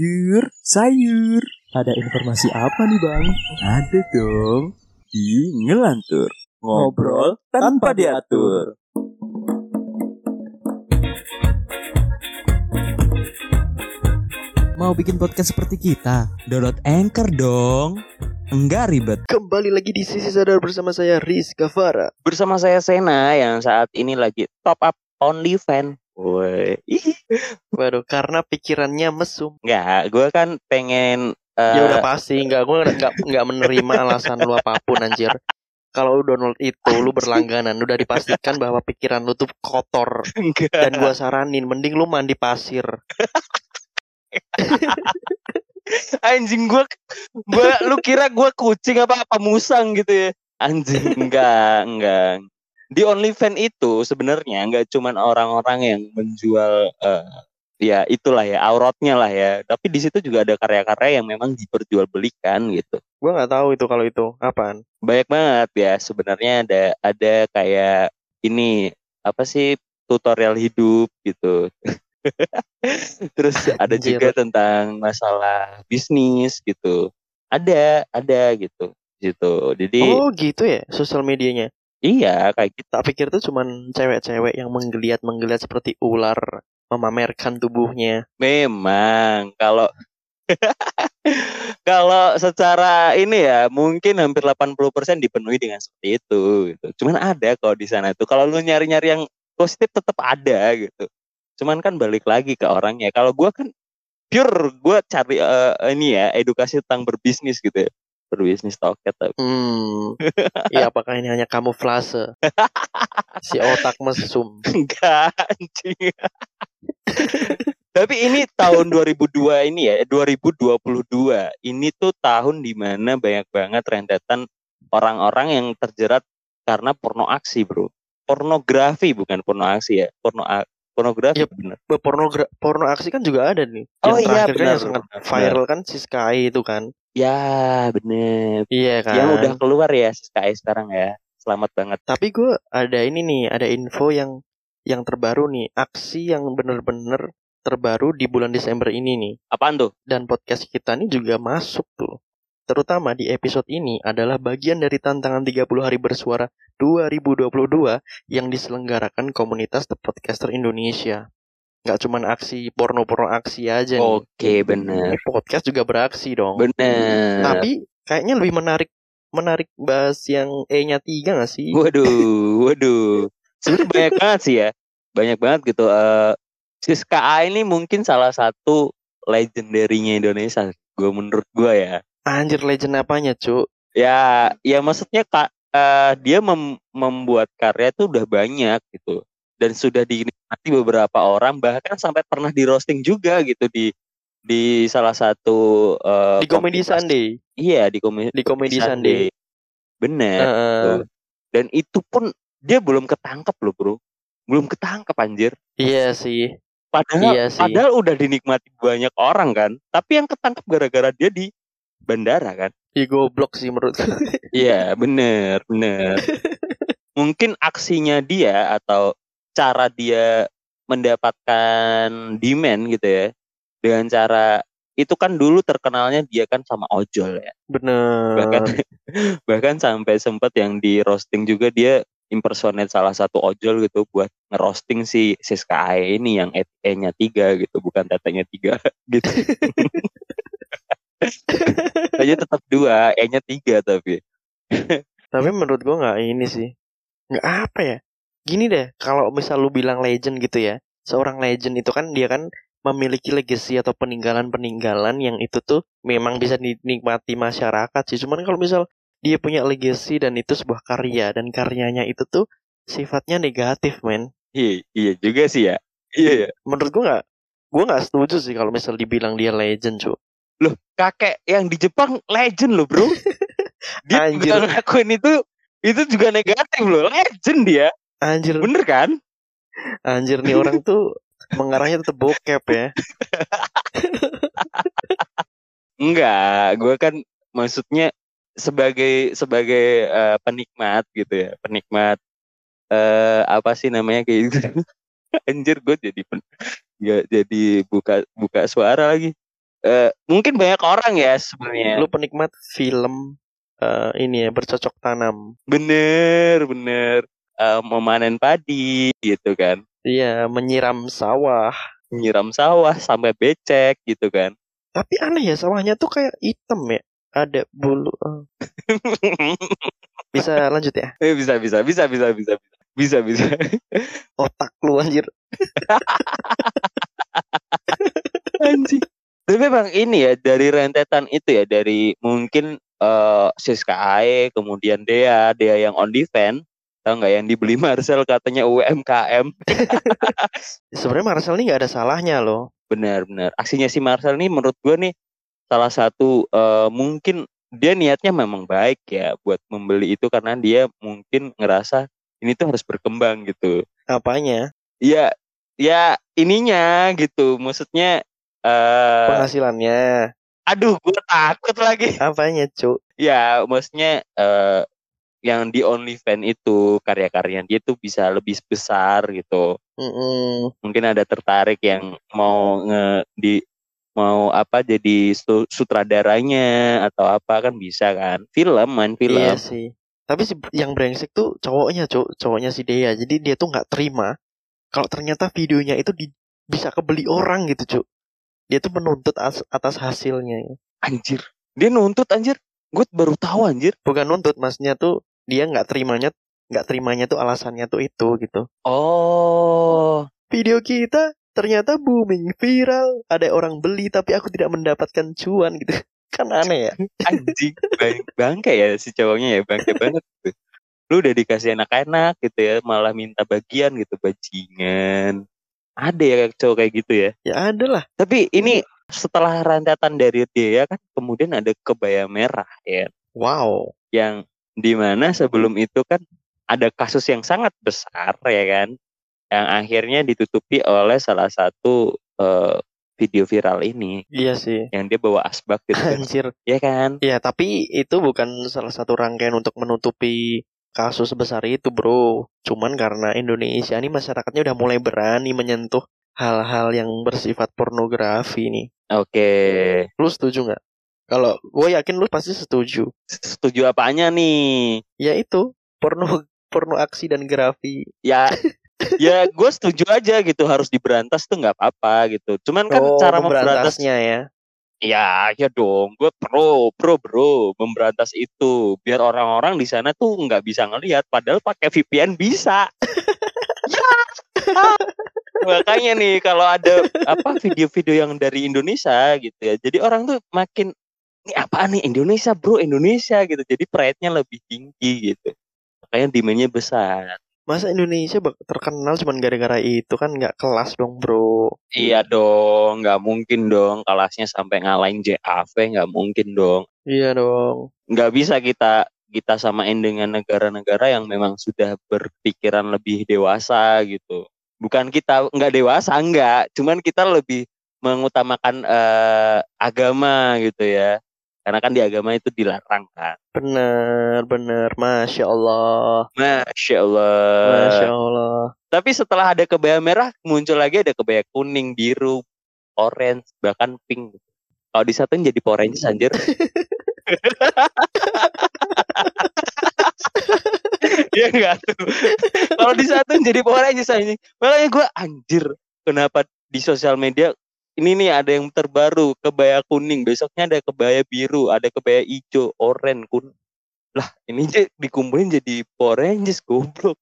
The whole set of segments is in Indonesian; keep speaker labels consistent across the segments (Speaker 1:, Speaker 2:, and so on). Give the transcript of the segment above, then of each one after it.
Speaker 1: Yur, sayur. Ada informasi apa nih bang?
Speaker 2: Ada dong di Ngelantur Ngobrol tanpa diatur
Speaker 3: Mau bikin podcast seperti kita? Download Anchor dong. Enggak ribet.
Speaker 4: Kembali lagi di sisi sadar bersama saya Rizka Farah.
Speaker 5: bersama saya Sena yang saat ini lagi top up only fan. Woi, ih,
Speaker 4: Waduh, karena pikirannya mesum.
Speaker 5: nggak, gue kan pengen eh,
Speaker 4: Ya udah pasti, nggak gue nggak nggak menerima alasan lu apapun anjir. Kalau lu download itu, lu berlangganan, udah dipastikan bahwa pikiran lu tuh kotor.
Speaker 5: nggak.
Speaker 4: Dan gua saranin, mending lu mandi pasir.
Speaker 5: anjing gue, gue, lu kira gue kucing apa apa musang gitu ya? Anjing, enggak, enggak. Di OnlyFans itu sebenarnya nggak cuman orang-orang yang menjual eh, ya itulah ya auratnya lah ya. Tapi di situ juga ada karya-karya yang memang diperjualbelikan gitu.
Speaker 4: Gua nggak tahu itu kalau itu apaan.
Speaker 5: banyak banget ya sebenarnya ada ada kayak ini apa sih tutorial hidup gitu terus ada
Speaker 4: Anjir.
Speaker 5: juga tentang masalah bisnis gitu ada ada gitu gitu jadi
Speaker 4: Oh gitu ya, sosial medianya.
Speaker 5: iya kayak gitu
Speaker 4: Tak pikir tuh cuman cewek-cewek yang menggeliat-menggeliat seperti ular memamerkan tubuhnya.
Speaker 5: memang kalau kalau secara ini ya mungkin hampir 80% dipenuhi dengan seperti itu gitu. Cuman ada kalau di sana itu kalau lu nyari-nyari yang positif tetap ada gitu. Cuman kan balik lagi ke orangnya. Kalau gua kan pure gua cari eh, ini ya edukasi tentang berbisnis gitu ya. Berbisnis toket tapi
Speaker 4: Hmm. Iya, apakah ini hanya kamuflase? Si otak mesum.
Speaker 5: enggak anjing. Tapi ini tahun 2002 ini ya, 2022 ini tuh tahun dimana banyak banget rentetan orang-orang yang terjerat karena porno aksi bro. Pornografi bukan porno aksi ya, porno a- pornografi
Speaker 4: Yep.
Speaker 5: bener.
Speaker 4: Be- porno gra- porno aksi kan juga ada nih.
Speaker 5: Oh, iya,
Speaker 4: terakhir kan
Speaker 5: benar,
Speaker 4: yang sangat
Speaker 5: benar,
Speaker 4: viral kan si Sky itu kan.
Speaker 5: Ya bener.
Speaker 4: Iya kan.
Speaker 5: Yang udah keluar ya SKI sekarang ya, selamat banget.
Speaker 4: Tapi gue ada ini nih, ada info yang yang terbaru nih, aksi yang bener-bener terbaru di bulan Desember ini nih.
Speaker 5: Apaan tuh?
Speaker 4: Dan podcast kita nih juga masuk tuh. Terutama di episode ini adalah bagian dari tantangan 30 hari bersuara 2022 yang diselenggarakan komunitas The Podcaster Indonesia. Nggak cuman aksi porno-porno aksi aja nih.
Speaker 5: Oke bener,
Speaker 4: Ini podcast juga beraksi dong.
Speaker 5: bener.
Speaker 4: Tapi kayaknya lebih menarik menarik bahas yang E-nya tiga gak sih?
Speaker 5: Waduh, waduh. Sebenarnya banyak banget sih ya. Banyak banget gitu. Eh Siska A ini mungkin salah satu legendarinya Indonesia. Gue menurut gue ya.
Speaker 4: Anjir legend apanya, Cuk?
Speaker 5: Ya, ya maksudnya kak eh, dia mem- membuat karya itu udah banyak gitu dan sudah dinikmati beberapa orang bahkan sampai pernah di roasting juga gitu di di salah satu eh,
Speaker 4: Di Comedy
Speaker 5: komunitas.
Speaker 4: Sunday.
Speaker 5: Iya di komedi
Speaker 4: Di Comedy Sunday.
Speaker 5: Bener.
Speaker 4: Heeh.
Speaker 5: Dan itu pun dia belum ketangkep loh bro. Belum ketangkep anjir.
Speaker 4: iya sih.
Speaker 5: Padahal,
Speaker 4: Iya sih.
Speaker 5: padahal udah dinikmati banyak orang kan. Tapi yang ketangkep gara-gara dia di bandara kan.
Speaker 4: Iya goblok sih menurut gue.
Speaker 5: Iya bener, bener. Mungkin aksinya dia atau cara dia mendapatkan demand gitu ya. Dengan cara itu kan dulu terkenalnya dia kan sama ojol ya. bahkan
Speaker 4: Bener.
Speaker 5: bahkan sampai sempat yang di roasting juga dia impersonate salah satu ojol gitu buat ngerosting si Siska Ae ini yang E-nya tiga gitu bukan tetenya tiga gitu aja tetap dua E-nya tiga tapi
Speaker 4: Tapi menurut gua nggak ini sih. Nggak apa ya? Gini deh, kalau misal lu bilang legend gitu ya. Seorang legend itu kan dia kan memiliki legacy atau peninggalan-peninggalan yang itu tuh memang bisa dinikmati masyarakat sih. Cuman kalau misal dia punya legacy dan itu sebuah karya dan karyanya itu tuh sifatnya negatif, men.
Speaker 5: iya, iya juga sih ya iya ya.
Speaker 4: Menurut gua nggak gua nggak setuju sih kalau misal dibilang dia legend, cu.
Speaker 5: kakek yang di Jepang legend loh bro dia
Speaker 4: Anjir.
Speaker 5: juga ngakuin itu itu juga negatif loh legend dia
Speaker 4: Anjir,
Speaker 5: bener kan
Speaker 4: anjir nih orang tuh mengarahnya tetap bokep ya.
Speaker 5: Enggak, gue kan maksudnya sebagai sebagai eh, penikmat gitu ya, penikmat eh apa sih namanya kayak gitu. Anjir, gue jadi pen, nggak jadi buka buka suara lagi. eh, mungkin banyak orang ya sebenarnya.
Speaker 4: Lu penikmat film eh, ini ya bercocok tanam.
Speaker 5: Bener, bener. Eh, memanen padi gitu kan.
Speaker 4: Iya, menyiram sawah.
Speaker 5: Nyiram sawah sampai becek gitu kan.
Speaker 4: Tapi aneh ya sawahnya tuh kayak hitam ya. Ada bulu. eh. Bisa lanjut ya.
Speaker 5: Eh, bisa, bisa, bisa, bisa, bisa. Bisa, bisa.
Speaker 4: Otak lu anjir.
Speaker 5: Anjing. Tapi bang ini ya dari rentetan itu ya dari mungkin eh Siska Ae kemudian Dea Dea yang on defense tau nggak yang dibeli Marcel katanya UMKM
Speaker 4: Sebenarnya Marcel ini nggak ada salahnya loh.
Speaker 5: benar-benar aksinya si Marcel nih menurut gue nih salah satu eh, mungkin dia niatnya memang baik ya buat membeli itu karena dia mungkin ngerasa ini tuh harus berkembang gitu
Speaker 4: Apanya?
Speaker 5: ya ya ininya gitu maksudnya eh
Speaker 4: Penghasilannya.
Speaker 5: aduh gue takut lagi
Speaker 4: Apanya, Cuk?
Speaker 5: ya maksudnya eh, yang di OnlyFans itu karya-karya dia tuh bisa lebih besar gitu
Speaker 4: Mm-mm.
Speaker 5: mungkin ada tertarik yang mau nge di mau apa jadi su- sutradaranya atau apa kan bisa kan film main film
Speaker 4: Iya sih. Tapi si yang brengsek tuh cowoknya, Cuk. Cowoknya si Dea. Jadi dia tuh nggak terima kalau ternyata videonya itu di- bisa kebeli orang gitu, Cuk. Dia tuh menuntut as- atas hasilnya.
Speaker 5: anjir dia nuntut anjir gue baru tahu anjir
Speaker 4: Bukan nuntut, maksudnya tuh dia nggak terimanya nggak terimanya tuh alasannya tuh itu gitu.
Speaker 5: oh
Speaker 4: Video kita ternyata booming viral, ada orang beli tapi aku tidak mendapatkan cuan gitu. Kan aneh ya.
Speaker 5: anjing bang bangke ya si cowoknya ya bangke banget gitu. lu udah dikasih enak-enak gitu ya malah minta bagian gitu bajingan ada ya cowok kayak gitu ya
Speaker 4: Ya ada lah.
Speaker 5: tapi ini setelah rentetan dari dia kan kemudian ada kebaya merah ya
Speaker 4: Wow.
Speaker 5: yang dimana sebelum itu kan ada kasus yang sangat besar ya kan yang akhirnya ditutupi oleh salah satu eh, video viral ini
Speaker 4: Iya sih.
Speaker 5: yang dia bawa asbak gitu kan.
Speaker 4: Anjir.
Speaker 5: ya kan
Speaker 4: Ya, tapi itu bukan salah satu rangkaian untuk menutupi kasus sebesar itu, Bro. Cuman karena Indonesia ini masyarakatnya udah mulai berani menyentuh hal-hal yang bersifat pornografi nih.
Speaker 5: oke
Speaker 4: Lu setuju nggak? Kalau gue yakin lu pasti setuju.
Speaker 5: setuju apanya nih
Speaker 4: Ya itu, porno porno aksi dan grafi.
Speaker 5: ya ya gue setuju aja gitu harus diberantas tuh nggak apa-apa gitu cuman kan
Speaker 4: Oh,
Speaker 5: cara memberantas
Speaker 4: memberantasnya ya.
Speaker 5: ya ya dong gue pro pro bro memberantas itu biar orang-orang di sana tuh nggak bisa ngelihat padahal pakai VPN bisa Ya, ah. makanya nih kalau ada apa video-video yang dari Indonesia gitu ya jadi orang tuh makin ini apaan nih Indonesia bro Indonesia gitu jadi pride-nya lebih tinggi gitu makanya demandnya besar
Speaker 4: Masa Indonesia bak- terkenal cuman gara-gara itu kan nggak kelas dong, Bro.
Speaker 5: Iya dong, nggak mungkin dong kelasnya sampai ngalahin JAV, nggak mungkin dong.
Speaker 4: Iya dong.
Speaker 5: Nggak bisa kita kita samain dengan negara-negara yang memang sudah berpikiran lebih dewasa gitu. Bukan kita nggak dewasa nggak, cuman kita lebih mengutamakan eh, agama gitu ya. Karena kan di agama itu dilarang kan.
Speaker 4: Bener, bener. Masya Allah.
Speaker 5: Masya Allah.
Speaker 4: Masya Allah.
Speaker 5: Tapi setelah ada kebaya merah, muncul lagi ada kebaya kuning, biru, orange, bahkan pink. Kalau disatuin jadi Power Rangers anjir. Iya enggak tuh. Kalau disatuin jadi Power Rangers anjing. Makanya gue anjir. Kenapa di sosial media ini nih ada yang terbaru kebaya kuning, besoknya ada kebaya biru, ada kebaya hijau, oranye, kuning. Lah, ini je- dikumpulin jadi Power Rangers goblok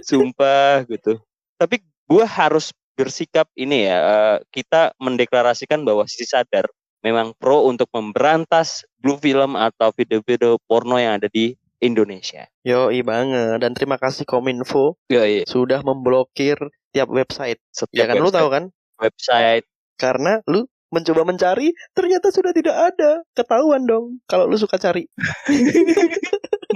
Speaker 5: sumpah gitu. Tapi gue harus bersikap ini ya, eh, kita mendeklarasikan bahwa sisi sadar memang pro untuk memberantas blue film atau video-video porno yang ada di Indonesia.
Speaker 4: Yoi banget. Dan terima kasih Kominfo
Speaker 5: Ya, iya.
Speaker 4: sudah memblokir tiap website. Ya kan lu tahu kan?
Speaker 5: website
Speaker 4: Karena lu mencoba mencari ternyata sudah tidak ada. Ketahuan dong kalau lu suka cari.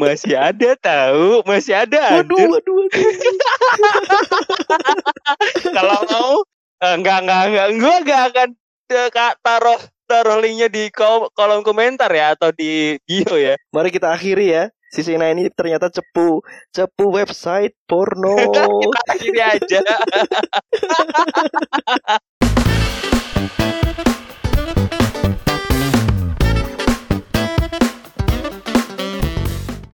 Speaker 5: masih ada tahu, masih ada. anjir.
Speaker 4: Waduh, waduh, waduh.
Speaker 5: Kalau mau eh, enggak enggak enggak gue enggak akan eh, ka- taruh taruh linknya di kol- kolom komentar ya atau di bio ya.
Speaker 4: Mari kita akhiri ya. Sisi Nah ini ternyata cepu, cepu website porno.
Speaker 5: Kita akhiri aja.
Speaker 3: Bye.